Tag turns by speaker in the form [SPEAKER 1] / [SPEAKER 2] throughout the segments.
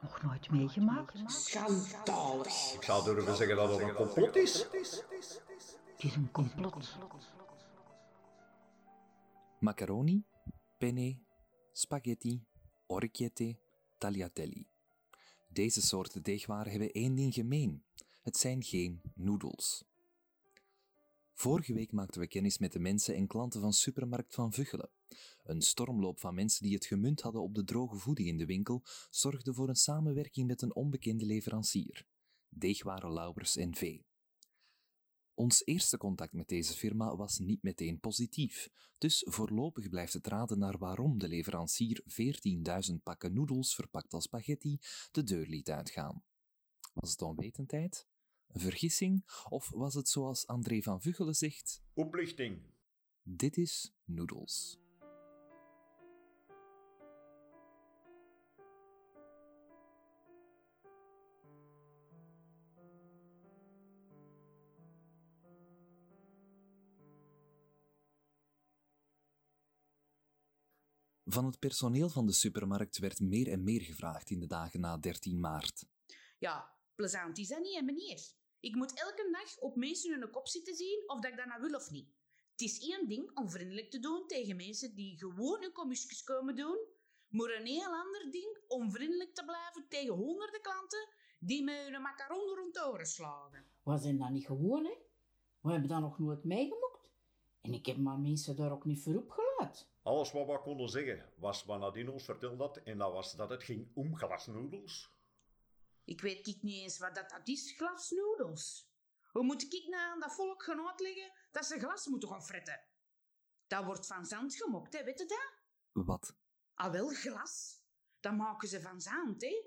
[SPEAKER 1] nog nooit meegemaakt.
[SPEAKER 2] Schandalig.
[SPEAKER 3] Zouden we zeggen dat het een complot is?
[SPEAKER 1] Het is een complot.
[SPEAKER 4] Macaroni, penne, spaghetti, orecchiette, tagliatelle. Deze soorten deegwaren hebben één ding gemeen. Het zijn geen noedels. Vorige week maakten we kennis met de mensen en klanten van Supermarkt van Vuggelen. Een stormloop van mensen die het gemunt hadden op de droge voeding in de winkel zorgde voor een samenwerking met een onbekende leverancier. Deegwaren Laubers NV. Ons eerste contact met deze firma was niet meteen positief, dus voorlopig blijft het raden naar waarom de leverancier 14.000 pakken noedels verpakt als spaghetti de deur liet uitgaan. Was het onwetendheid? Een vergissing? Of was het zoals André van Vuggelen zegt:
[SPEAKER 3] Oplichting.
[SPEAKER 4] Dit is noedels. Van het personeel van de supermarkt werd meer en meer gevraagd in de dagen na 13 maart.
[SPEAKER 2] Ja, plezant is dat niet, hè, meneer? Ik moet elke dag op mensen hun kop zitten zien of dat ik dat nou wil of niet. Het is één ding om vriendelijk te doen tegen mensen die gewoon hun commissies komen doen, maar een heel ander ding om vriendelijk te blijven tegen honderden klanten die met hun macaron rond de oren slagen.
[SPEAKER 5] We zijn dat niet gewoon, hè? We hebben dat nog nooit meegemaakt. En ik heb mijn mensen daar ook niet voor opgeleid.
[SPEAKER 3] Alles wat we konden zeggen was wat Nadine ons vertelde had en dat was dat het ging om glasnoedels.
[SPEAKER 2] Ik weet ik niet eens wat dat, dat is, glasnoedels. Hoe moet ik nou aan dat volk gaan uitleggen dat ze glas moeten gaan fretten? Dat wordt van zand gemokt, hè, weet je dat?
[SPEAKER 4] Wat?
[SPEAKER 2] Ah, wel, glas. Dat maken ze van zand, hè?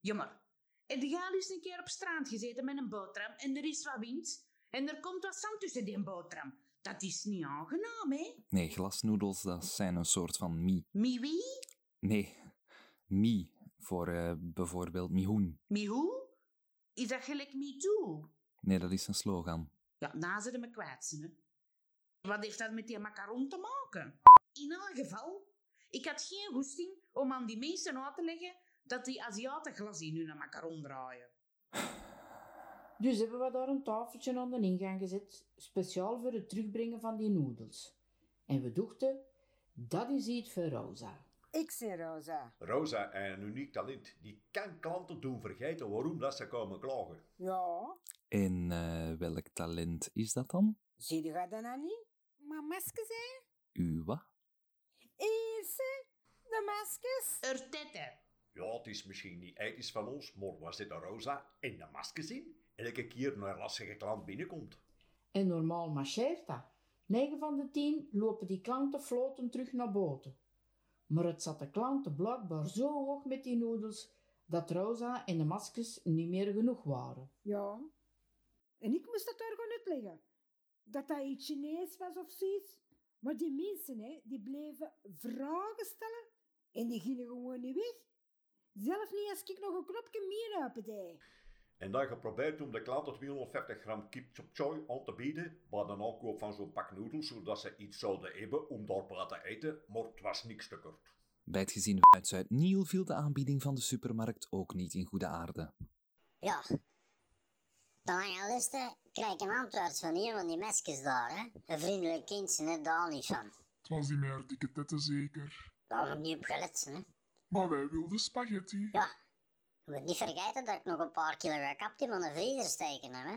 [SPEAKER 2] Jammer. En die gaat eens een keer op straat gezeten met een boterham en er is wat wind en er komt wat zand tussen die boterham. Dat is niet aangenaam, hè?
[SPEAKER 4] Nee, glasnoedels, dat zijn een soort van mie.
[SPEAKER 2] Mie wie?
[SPEAKER 4] Nee, mie voor eh, bijvoorbeeld mihoen.
[SPEAKER 2] Mie hoe? Is dat gelijk me too?
[SPEAKER 4] Nee, dat is een slogan.
[SPEAKER 2] Ja, na ze me kwijtsen. Hè. Wat heeft dat met die macaron te maken? In elk geval, ik had geen goesting om aan die mensen uit te leggen dat die Aziaten glas in hun macaron draaien.
[SPEAKER 5] Dus hebben we daar een tafeltje aan de ingang gezet, speciaal voor het terugbrengen van die noedels. En we dachten, dat is iets voor Rosa.
[SPEAKER 6] Ik zie Rosa.
[SPEAKER 3] Rosa, een uniek talent, die kan klanten doen vergeten waarom dat ze komen klagen.
[SPEAKER 6] Ja,
[SPEAKER 4] En eh, welk talent is dat dan?
[SPEAKER 6] zie je dat dan niet? Maar maskers, hè?
[SPEAKER 4] Uwa?
[SPEAKER 6] Eerst, hè? De maskers.
[SPEAKER 2] Ertette.
[SPEAKER 3] Ja, het is misschien niet ethisch van ons, maar waar zit de Rosa in de maskers in? Elke keer een lastige klant binnenkomt.
[SPEAKER 5] En normaal marcheert dat. 9 van de 10 lopen die klanten floten terug naar boten. Maar het zat de klanten blijkbaar zo hoog met die noedels dat Rosa en de maskers niet meer genoeg waren.
[SPEAKER 6] Ja. En ik moest dat daar gewoon uitleggen. Dat dat iets Chinees was of zoiets. Maar die mensen, hè, die bleven vragen stellen. En die gingen gewoon niet weg. Zelf niet als ik nog een knopje meer op deed.
[SPEAKER 3] En dan geprobeerd om de klant het 250 gram kip chop choy aan te bieden bij de aankoop van zo'n pak noedels, zodat ze iets zouden hebben om daarbij te eten, maar het was niks te kort.
[SPEAKER 4] Bij het gezin uit Zuid-Niel viel de aanbieding van de supermarkt ook niet in goede aarde.
[SPEAKER 7] Ja. De analisten krijgen een antwoord van een van die mesjes daar, hè. Een vriendelijk kindje, hè, daar niet van.
[SPEAKER 8] Het was die meer dikke tetten zeker.
[SPEAKER 7] Daar heb ik niet op gelet, hè.
[SPEAKER 8] Maar wij wilden spaghetti.
[SPEAKER 7] Ja. Je moet niet vergeten dat ik nog een paar kilo gekapt heb aan de vriezer steken heb, hè.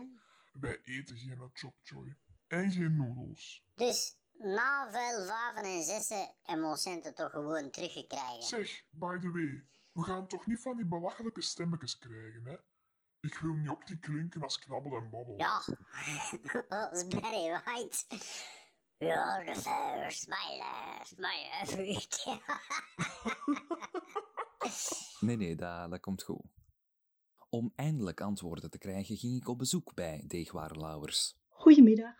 [SPEAKER 8] Wij eten geen chop choy. En geen noedels.
[SPEAKER 7] Dus na veel vaven en zessen hebben we ons centen toch gewoon teruggekregen.
[SPEAKER 8] Zeg, by the way, we gaan toch niet van die belachelijke stemmetjes krijgen, hè? Ik wil niet op die klinken als knabbel en babbel.
[SPEAKER 7] Ja. Oh, Dat is Barry White. You're the first, my last, my everything.
[SPEAKER 4] Nee, nee, dat, dat komt goed. Om eindelijk antwoorden te krijgen ging ik op bezoek bij Deegwaren Lauwers.
[SPEAKER 1] Goedemiddag.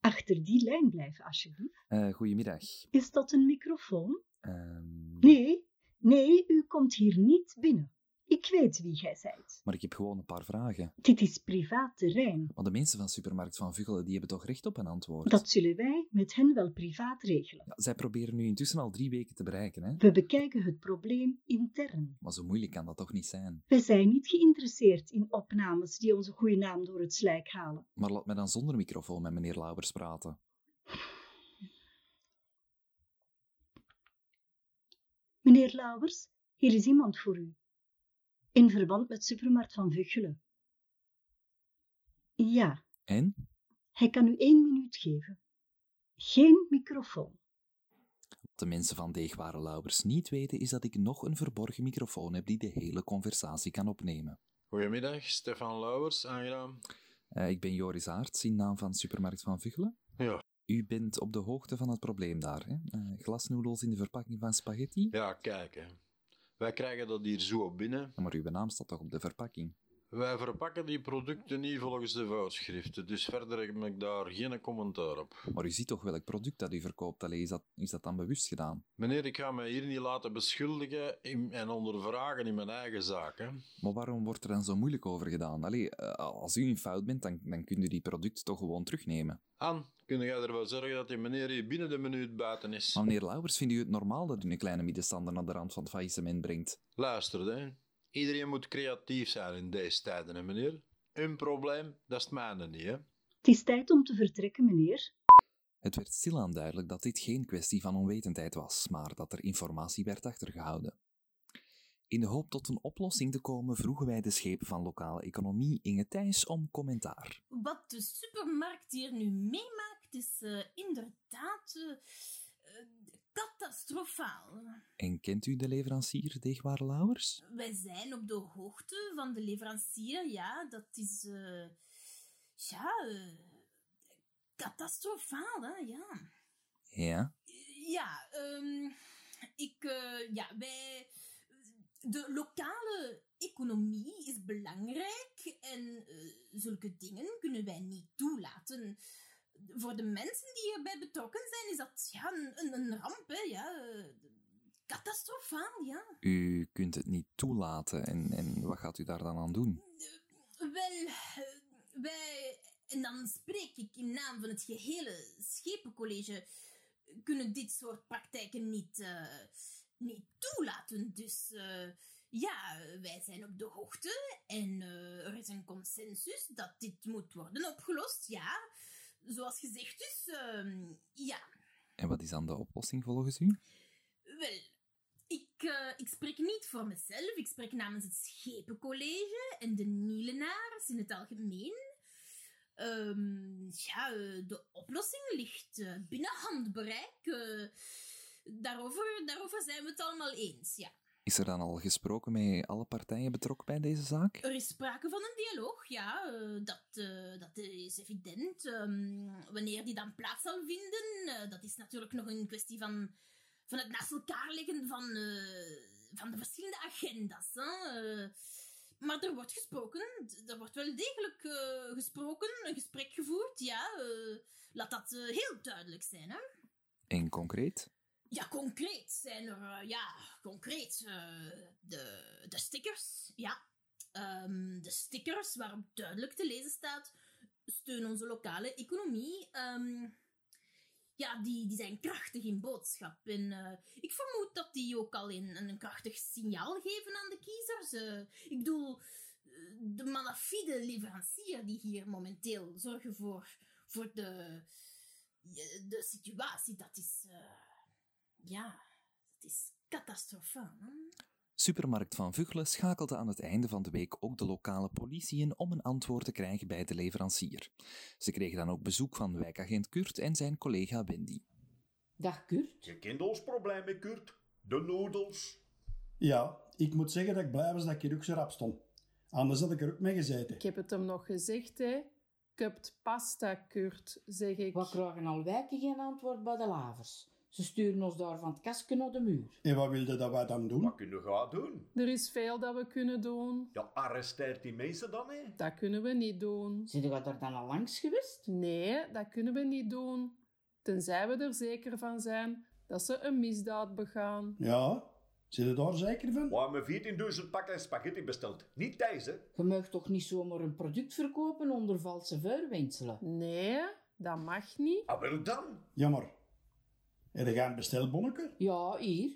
[SPEAKER 1] Achter die lijn blijven, alsjeblieft.
[SPEAKER 4] Eh, goedemiddag.
[SPEAKER 1] Is dat een microfoon?
[SPEAKER 4] Ehm,
[SPEAKER 1] Nee, nee, u komt hier niet binnen. Ik weet wie jij zijt.
[SPEAKER 4] Maar ik heb gewoon een paar vragen.
[SPEAKER 1] Dit is privaat terrein.
[SPEAKER 4] Want de mensen van Supermarkt van Vuggelen die hebben toch recht op een antwoord?
[SPEAKER 1] Dat zullen wij met hen wel privaat regelen.
[SPEAKER 4] Ja, zij proberen nu intussen al drie weken te bereiken, hè?
[SPEAKER 1] We bekijken het probleem intern.
[SPEAKER 4] Maar zo moeilijk kan dat toch niet zijn?
[SPEAKER 1] We zijn niet geïnteresseerd in opnames die onze goede naam door het slijk halen.
[SPEAKER 4] Maar laat me dan zonder microfoon met meneer Lauwers praten.
[SPEAKER 1] Meneer Lauwers, hier is iemand voor u. In verband met supermarkt van Vuggelen. Ja,
[SPEAKER 4] En?
[SPEAKER 1] hij kan u één minuut geven. Geen microfoon.
[SPEAKER 4] Wat de mensen van Deegware Lauwers niet weten, is dat ik nog een verborgen microfoon heb die de hele conversatie kan opnemen.
[SPEAKER 9] Goedemiddag, Stefan Lauwers, aangenaam.
[SPEAKER 4] Eh, ik ben Joris Aarts, in naam van Supermarkt van Vuggelen.
[SPEAKER 9] Ja.
[SPEAKER 4] U bent op de hoogte van het probleem daar, hè? Eh, glasnoedels in de verpakking van spaghetti?
[SPEAKER 9] Ja, kijk, hè. wij krijgen dat hier zo binnen.
[SPEAKER 4] Maar uw naam staat toch op de verpakking?
[SPEAKER 9] Wij verpakken die producten niet volgens de voorschriften, dus verder heb ik daar geen commentaar op.
[SPEAKER 4] Maar u ziet toch welk product dat u verkoopt, alleen is dat, is dat dan bewust gedaan?
[SPEAKER 9] Meneer, ik ga mij hier niet laten beschuldigen in- en ondervragen in mijn eigen zaak. Hè.
[SPEAKER 4] Maar waarom wordt er dan zo moeilijk over gedaan? Allee, eh, als u in fout bent, dan, dan kunt u die producten toch gewoon terugnemen.
[SPEAKER 9] An, kun jij ervoor zorgen dat die meneer hier binnen de minuut buiten is?
[SPEAKER 4] Maar meneer Lauwers, vindt u het normaal dat u een kleine middenstander naar de rand van het faillissement brengt?
[SPEAKER 9] Luister, hè. iedereen moet creatief zijn in deze tijden, hè, meneer. Een probleem, dat is het mijne niet, hè.
[SPEAKER 1] Het is tijd om te vertrekken, meneer.
[SPEAKER 4] Het werd stilaan duidelijk dat dit geen kwestie van onwetendheid was, maar dat er informatie werd achtergehouden. In de hoop tot een oplossing te komen, vroegen wij de schepen van lokale economie Inge Thijs om commentaar.
[SPEAKER 10] Wat de supermarkt hier nu meemaakt, is eh, inderdaad eh, eh, catastrofaal.
[SPEAKER 4] En kent u de leverancier Deegwaar Lauwers?
[SPEAKER 10] Wij zijn op de hoogte van de leverancier, ja, dat is. eh, ja, eh, catastrofaal, hè, ja.
[SPEAKER 4] Ja.
[SPEAKER 10] Ja, ehm, ik, eh, ja, wij, de lokale economie is belangrijk en eh, zulke dingen kunnen wij niet toelaten. Voor de mensen die erbij betrokken zijn, is dat ja, een, een- een ramp, hè, ja. eh, Catastrofaal, ja.
[SPEAKER 4] U kunt het niet toelaten en, en wat gaat u daar dan aan doen?
[SPEAKER 10] Wel, eh, wij, en dan spreek ik in naam van het gehele schepencollege, kunnen dit soort praktijken niet, eh, niet toelaten. Dus eh, ja, wij zijn op de hoogte en eh, er is een consensus dat dit moet worden opgelost, ja. Zoals gezegd dus, ehm, ja.
[SPEAKER 4] En wat is dan de oplossing volgens u?
[SPEAKER 10] Wel, ik, eh, ik spreek niet voor mezelf. Ik spreek namens het Schepencollege en de Nielenaars in het algemeen. Ehm, ja, eh, de oplossing ligt eh, binnen handbereik. eh, daarover, daarover zijn we het allemaal eens, ja.
[SPEAKER 4] Is er dan al gesproken met alle partijen betrokken bij deze zaak?
[SPEAKER 10] Er is sprake van een dialoog, ja. eh, dat, eh, dat is evident. Ehm, wanneer die dan plaats zal vinden, eh, dat is natuurlijk nog een kwestie van, van het naast elkaar leggen van, eh, van de verschillende agendas. Hè. Eh, maar er wordt gesproken, d- er wordt wel degelijk eh, gesproken, een gesprek gevoerd, ja. eh, laat dat eh, heel duidelijk zijn, hè.
[SPEAKER 4] En concreet?
[SPEAKER 10] Ja, concreet zijn er, eh, ja, concreet. eh, de, de stickers, ja. Ehm, de stickers waarop duidelijk te lezen staat: steun onze lokale economie. Ehm, ja, die, die zijn krachtig in boodschap. En eh, ik vermoed dat die ook al een, een krachtig signaal geven aan de kiezers. Eh, ik bedoel, eh, de malafide leverancier die hier momenteel zorgen voor, voor de, de situatie, dat is. eh, ja, het is catastrofaal. hè?
[SPEAKER 4] Supermarkt van Vuggelen schakelde aan het einde van de week ook de lokale politie in om een antwoord te krijgen bij de leverancier. Ze kregen dan ook bezoek van wijkagent Kurt en zijn collega Wendy.
[SPEAKER 5] Dag Kurt.
[SPEAKER 3] Je kent ons probleem, hè, Kurt. De noedels.
[SPEAKER 11] Ja, ik moet zeggen dat ik blij was dat ik hier ook zo rap stond. Anders had ik er ook mee gezeten.
[SPEAKER 12] Ik heb het hem nog gezegd, hè. Kupt pasta, Kurt, zeg ik.
[SPEAKER 5] We krijgen al wijken geen antwoord bij de lavers. Ze sturen ons daar van het kastje naar de muur.
[SPEAKER 11] En wat wilde dat wij dan doen?
[SPEAKER 3] Wat kunnen we gaan doen?
[SPEAKER 12] Er is veel dat we kunnen doen.
[SPEAKER 3] Ja, arresteert die mensen dan, hè?
[SPEAKER 12] Dat kunnen we niet doen.
[SPEAKER 5] Zijn we daar dan al langs geweest?
[SPEAKER 12] Nee, dat kunnen we niet doen. Tenzij we er zeker van zijn dat ze een misdaad begaan.
[SPEAKER 11] Ja, Zit je daar zeker van?
[SPEAKER 3] Waar me 14.000 pakken spaghetti besteld. Niet Thijs, hè?
[SPEAKER 5] Je mag toch niet zomaar een product verkopen onder valse voorwendselen?
[SPEAKER 12] Nee, dat mag niet.
[SPEAKER 3] Ah, wel dan?
[SPEAKER 11] Jammer. En dan gaan bestelbonneke?
[SPEAKER 5] Ja, hier.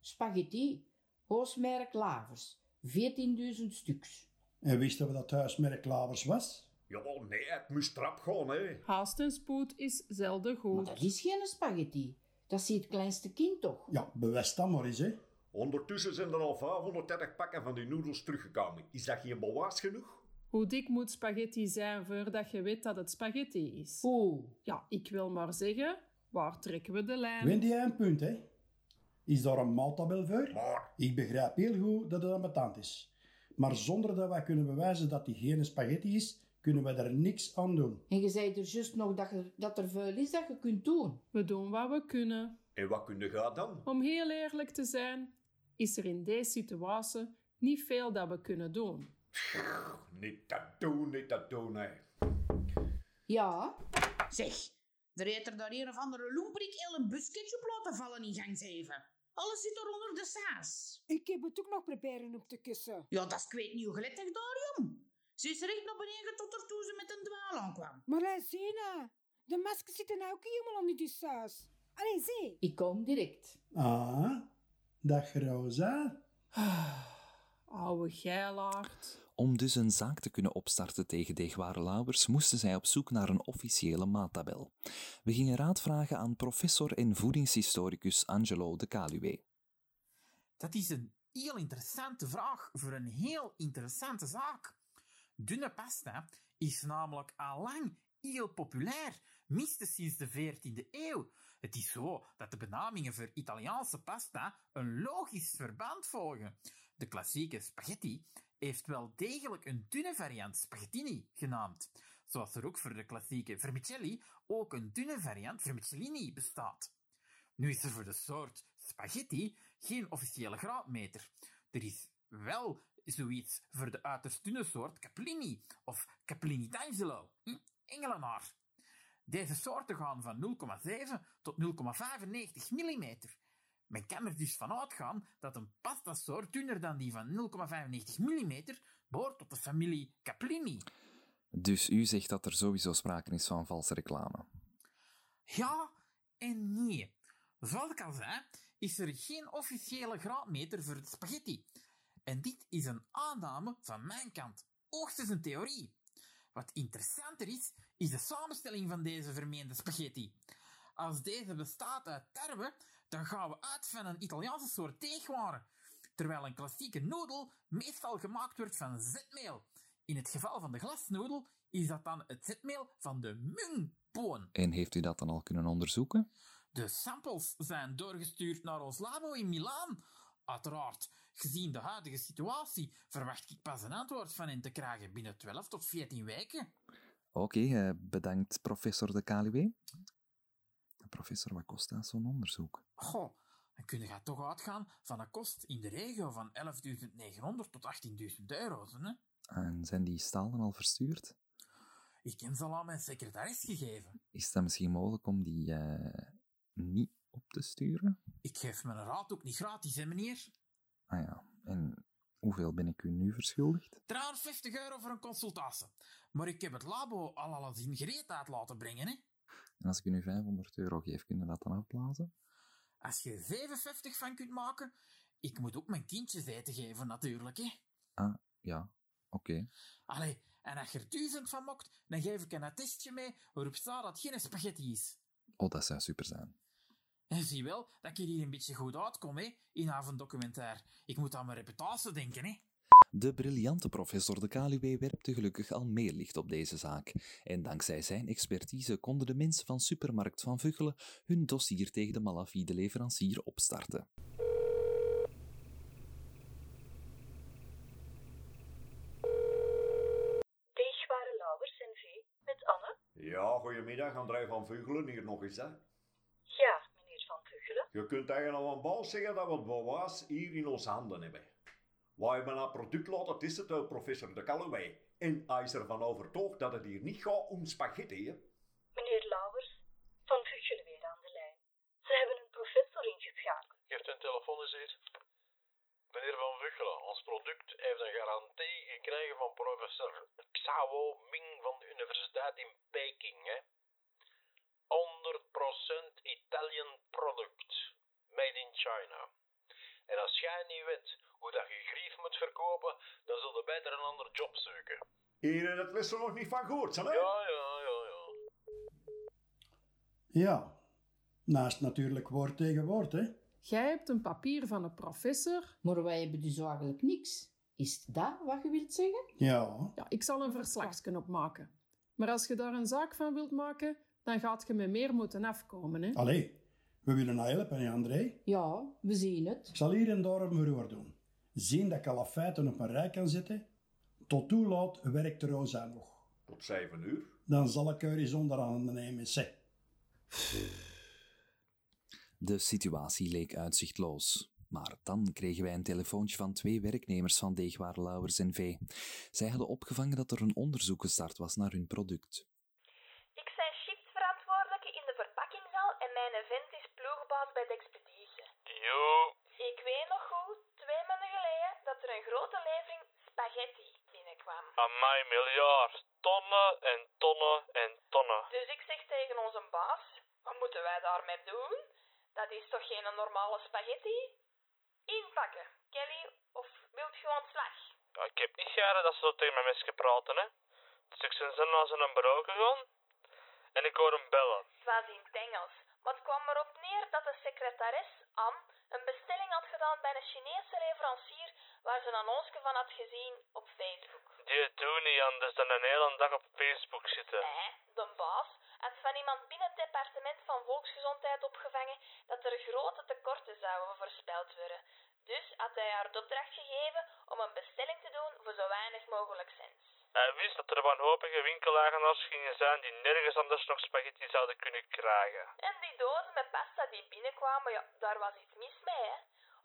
[SPEAKER 5] Spaghetti, hoosmerk lavers. 14.000 stuks.
[SPEAKER 11] En wisten we dat huismerk Lavers was?
[SPEAKER 3] Jawel, nee, het moest trap gaan, hè?
[SPEAKER 12] Haast en spoed is zelden goed.
[SPEAKER 5] Dat is geen spaghetti. Dat ziet het kleinste kind toch?
[SPEAKER 11] Ja, bewust dat maar eens, hè.
[SPEAKER 3] Ondertussen zijn er al 530 pakken van die noedels teruggekomen. Is dat geen bewaas genoeg?
[SPEAKER 12] Hoe dik moet spaghetti zijn voordat je weet dat het spaghetti is?
[SPEAKER 5] Oeh.
[SPEAKER 12] Ja, ik wil maar zeggen, waar trekken we de lijn?
[SPEAKER 11] Wint jij een punt, hè? Is daar een maaltabel voor?
[SPEAKER 3] Maar,
[SPEAKER 11] Ik begrijp heel goed dat het ambetant is. Maar zonder dat wij kunnen bewijzen dat die geen spaghetti is, kunnen we er niks aan doen.
[SPEAKER 5] En je zei er juist nog dat er, dat er veel is dat je kunt doen.
[SPEAKER 12] We doen wat we kunnen.
[SPEAKER 3] en wat kun je gaan dan?
[SPEAKER 12] Om heel eerlijk te zijn, is er in deze situatie niet veel dat we kunnen doen.
[SPEAKER 3] Niet dat doen, niet dat doen, hè?
[SPEAKER 5] Ja,
[SPEAKER 2] Zeg, er heeft er daar een of andere loemprik heel een bus ketchup laten vallen in gang 7. Alles zit er onder de saas.
[SPEAKER 6] Ik heb het ook nog proberen op te kussen.
[SPEAKER 2] Ja, dat is kwijt niet hoe geletterd daar, jong. Ze is recht naar beneden tot er toen ze met een dwaal aankwam.
[SPEAKER 6] Maar hè, Zena, de maskers zitten nou ook helemaal onder die saus. Allee, zie.
[SPEAKER 5] ik kom direct.
[SPEAKER 11] Ah, dag Rosa.
[SPEAKER 12] Oude Ah, geilaard.
[SPEAKER 4] Om dus een zaak te kunnen opstarten tegen deegware Lauwers, moesten zij op zoek naar een officiële maattabel. We gingen raad vragen aan professor en voedingshistoricus Angelo de Caluwe.
[SPEAKER 13] Dat is een heel interessante vraag voor een heel interessante zaak. Dunne pasta is namelijk al lang heel populair, minstens sinds de 14e eeuw. Het is zo dat de benamingen voor Italiaanse pasta een logisch verband volgen. De klassieke spaghetti heeft wel degelijk een dunne variant spaghettini genaamd, zoals er ook voor de klassieke vermicelli ook een dunne variant vermicellini bestaat. Nu is er voor de soort spaghetti geen officiële graadmeter. Er is wel zoiets voor de uiterst dunne soort capellini of capellini d'Angelo, hm? Engelenaar. Deze soorten gaan van 0,7 tot 0,95 mm. Men kan er dus van uitgaan dat een pastasoort dunner dan die van 0,95 mm behoort tot de familie capellini.
[SPEAKER 4] Dus u zegt dat er sowieso sprake is van valse reclame.
[SPEAKER 13] Ja en nee. Zoals ik al zei, is er geen officiële graadmeter voor het spaghetti. En dit is een aanname van mijn kant, hoogstens een theorie. Wat interessanter is, is de samenstelling van deze vermeende spaghetti. Als deze bestaat uit tarwe, dan gaan we uit van een Italiaanse soort deegwaren, terwijl een klassieke noedel meestal gemaakt wordt van zetmeel. In het geval van de glasnoedel is dat dan het zetmeel van de mungpoon.
[SPEAKER 4] En heeft u dat dan al kunnen onderzoeken?
[SPEAKER 13] De samples zijn doorgestuurd naar ons labo in Milaan. Uiteraard, gezien de huidige situatie, verwacht ik pas een antwoord van hen te krijgen binnen 12 tot 14 weken.
[SPEAKER 4] Oké, eh, bedankt professor de Caluwe. Professor, wat kost dat zo'n onderzoek?
[SPEAKER 13] Goh, dan kun je toch uitgaan van een kost in de regio van 11.900 tot 18.000 euro's. Hè?
[SPEAKER 4] En zijn die stalen al verstuurd?
[SPEAKER 13] Ik heb ze al aan mijn secretaris gegeven.
[SPEAKER 4] Is dat misschien mogelijk om die eh, niet op te sturen?
[SPEAKER 13] Ik geef mijn raad ook niet gratis, hè, meneer?
[SPEAKER 4] Ah ja, en hoeveel ben ik u nu verschuldigd?
[SPEAKER 13] 350 euro voor een consultatie. Maar ik heb het labo al alles in gereedheid laten brengen, hè?
[SPEAKER 4] En als ik u nu 500 euro geef, kunnen we dat dan afblazen?
[SPEAKER 13] Als je er 55 van kunt maken, ik moet ook mijn kindjes eten geven natuurlijk, hè.
[SPEAKER 4] Ah, Ja, oké.
[SPEAKER 13] Allee, en als je er duizend van mokt, dan geef ik een attestje mee waarop staat dat het geen spaghetti is.
[SPEAKER 4] Oh, dat zou super zijn.
[SPEAKER 13] En zie wel dat ik hier hier een beetje goed uitkom, hè, in avonddocumentair. Ik moet aan mijn reputatie denken, hè.
[SPEAKER 4] De briljante professor de Kaluwe werpte gelukkig al meer licht op deze zaak. En dankzij zijn expertise konden de mensen van Supermarkt van Vuggelen hun dossier tegen de malafide leverancier opstarten.
[SPEAKER 14] Deegware Lauwers NV met Anne.
[SPEAKER 3] Ja, goedemiddag, André van Vugelen hier nog eens, hè?
[SPEAKER 14] Ja, meneer Van Vugelen.
[SPEAKER 3] Je kunt eigenlijk al een bal zeggen dat we het bewaas hier in onze handen hebben. Waar je me naar product laat, dat is het, eh, professor de Calloway. En hij is ervan overtuigd dat het hier niet gaat om spaghetti, hè?
[SPEAKER 14] Meneer Lauwers van Vugelen weer aan de lijn. Ze hebben een professor ingeschakeld.
[SPEAKER 15] Heeft een telefoon eens hier? Meneer Van Vuchelen, ons product heeft een garantie gekregen van professor Xiao Ming van de Universiteit in Peking. Hè? 100% Italian product, made in China. En als jij niet weet hoe dat je grief moet verkopen, dan zul je beter een ander job zoeken.
[SPEAKER 3] Hier in het Westen nog niet van gehoord, hè?
[SPEAKER 15] Ja, ja, ja, ja.
[SPEAKER 11] Ja, naast natuurlijk woord tegen woord, hè.
[SPEAKER 12] Jij hebt een papier van een professor.
[SPEAKER 5] Maar wij hebben dus eigenlijk niks. Is dat wat je wilt zeggen?
[SPEAKER 11] Ja,
[SPEAKER 12] Ja, ik zal een verslagsken opmaken. Maar als je daar een zaak van wilt maken, dan gaat je met meer moeten afkomen, hè?
[SPEAKER 11] allee, we willen nou helpen, hè, André?
[SPEAKER 5] Ja, we zien het.
[SPEAKER 11] Ik zal hier en daar een verhoor doen. Zien dat ik alle feiten op mijn rij kan zetten. Tot hoe laat werkt Rosa nog?
[SPEAKER 3] Tot zeven uur.
[SPEAKER 11] Dan zal ik haar eens onderaan nemen, zeg.
[SPEAKER 4] De situatie leek uitzichtloos. Maar dan kregen wij een telefoontje van twee werknemers van Deegwaar Lauwers en V. Zij hadden opgevangen dat er een onderzoek gestart was naar hun product.
[SPEAKER 14] Ik zijn shiftverantwoordelijke in de verpakkingzaal en mijn vent is ploegbaas bij de expeditie.
[SPEAKER 15] Jo.
[SPEAKER 14] Ik weet nog goed, twee maanden geleden, dat er een grote levering spaghetti binnenkwam.
[SPEAKER 15] Amai, miljard. Tonnen en tonnen en tonnen.
[SPEAKER 14] Dus ik zeg tegen onze baas, wat moeten wij daarmee doen? Dat is toch geen normale spaghetti? Inpakken, Kelly, of wilt je ontslag?
[SPEAKER 16] Ja, Ik heb niet jaren dat ze zo tegen mijn mensen praten, hè. Dus zijn zijn naar zijn bureau gegaan en ik hoor hem bellen.
[SPEAKER 14] Het was in het Engels, maar het kwam erop neer dat de secretares, Anne, een bestelling had gedaan bij een Chinese leverancier waar ze een onsje van had gezien op Facebook.
[SPEAKER 16] Die doen niet anders dan een hele dag op Facebook zitten.
[SPEAKER 14] De baas had van iemand binnen het departement van volksgezondheid opgevangen dat er grote tekorten zouden voorspeld worden. Dus had hij haar de opdracht gegeven om een bestelling te doen voor zo weinig mogelijk cent.
[SPEAKER 16] Hij wist dat er wanhopige winkeleigenaars gingen zijn die nergens anders nog spaghetti zouden kunnen krijgen.
[SPEAKER 14] En die dozen met pasta die binnenkwamen, ja, daar was iets mis mee, hè.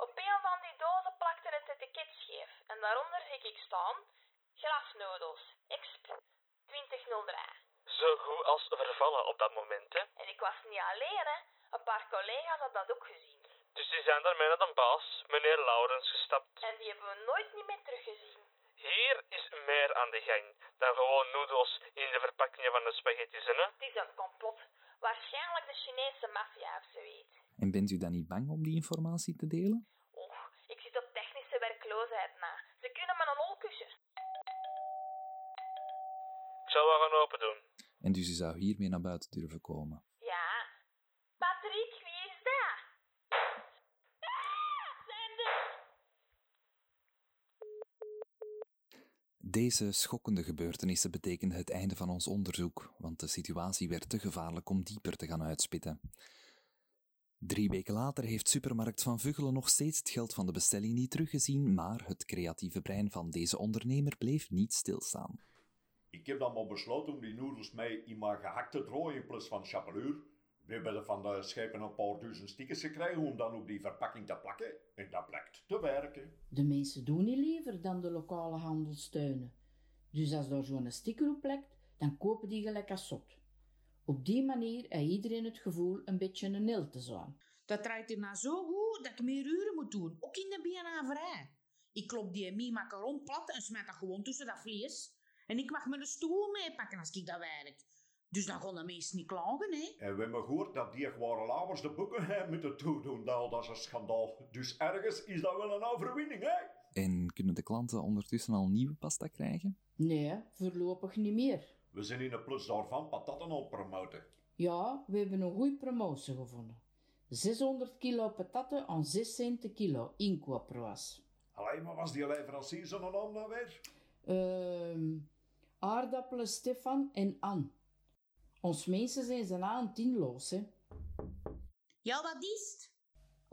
[SPEAKER 14] Op een van die dozen plakte het etiket scheef. En daaronder zie ik staan, grasnoedels, exp 2003.
[SPEAKER 16] Zo goed als vervallen op dat moment, hè.
[SPEAKER 14] En ik was niet alleen, hè. Een paar collega's hadden dat ook gezien.
[SPEAKER 16] Dus die zijn daarmee naar de baas, meneer Laurens, gestapt.
[SPEAKER 14] En die hebben we nooit niet meer teruggezien.
[SPEAKER 16] Hier is meer aan de gang dan gewoon noedels in de verpakkingen van de spaghetti's, hè.
[SPEAKER 14] Het is een complot. Waarschijnlijk de Chinese maffia of zoiets.
[SPEAKER 4] En bent u dan niet bang om die informatie te delen?
[SPEAKER 14] Och, ik zit op technische werkloosheid na. Ze kunnen me een hol kussen.
[SPEAKER 16] Ik zal wel gaan open doen.
[SPEAKER 4] En dus u zou hiermee naar buiten durven komen.
[SPEAKER 14] Ja. Patrick, wie is daar? Ah, zijn er...
[SPEAKER 4] Deze schokkende gebeurtenissen betekenden het einde van ons onderzoek, want de situatie werd te gevaarlijk om dieper te gaan uitspitten. Drie weken later heeft supermarkt Van Vuggelen nog steeds het geld van de bestelling niet teruggezien, maar het creatieve brein van deze ondernemer bleef niet stilstaan.
[SPEAKER 3] Ik heb dan maar besloten om die noedels mee in mijn gehakt te drooien in plaats van chapeluur. We hebben er van de schepen een paar duizend stickers gekregen om dan op die verpakking te plakken. En dat blijkt te werken.
[SPEAKER 5] De mensen doen niet liever dan de lokale handel steunen. Dus als daar zo'n sticker op plakt, dan kopen die gelijk als zot. Op die manier heeft iedereen het gevoel een beetje een nil te zijn.
[SPEAKER 2] Dat draait hierna zo goed dat ik meer uren moet doen, ook in de biernaverij. Ik klop die mie macaron plat en smijt dat gewoon tussen dat vlees. En ik mag mijn stoel meepakken als ik dat werk. Dus dan gaan de mensen niet klagen, hè.
[SPEAKER 3] En we hebben gehoord dat die waren lauwers de boeken hè, moeten toedoen. Nou, dat is een schandaal. Dus ergens is dat wel een overwinning, hè?
[SPEAKER 4] En kunnen de klanten ondertussen al nieuwe pasta krijgen?
[SPEAKER 5] Nee, voorlopig niet meer.
[SPEAKER 3] We zijn in de plus daarvan patatten al promoten.
[SPEAKER 5] Ja, we hebben een goede promotie gevonden. 600 kilo patatten aan 6 cent de kilo inkoopprijs.
[SPEAKER 3] Alleen maar was die leverancier zo'n naam nou weer?
[SPEAKER 5] Ehm aardappelen Stefan en An. Ons mensen zijn ze na een tienloos, hè.
[SPEAKER 2] Ja, wat is het?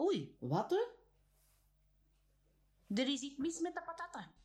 [SPEAKER 2] Oei.
[SPEAKER 5] Wat, hè?
[SPEAKER 2] Er is iets mis met de patatten.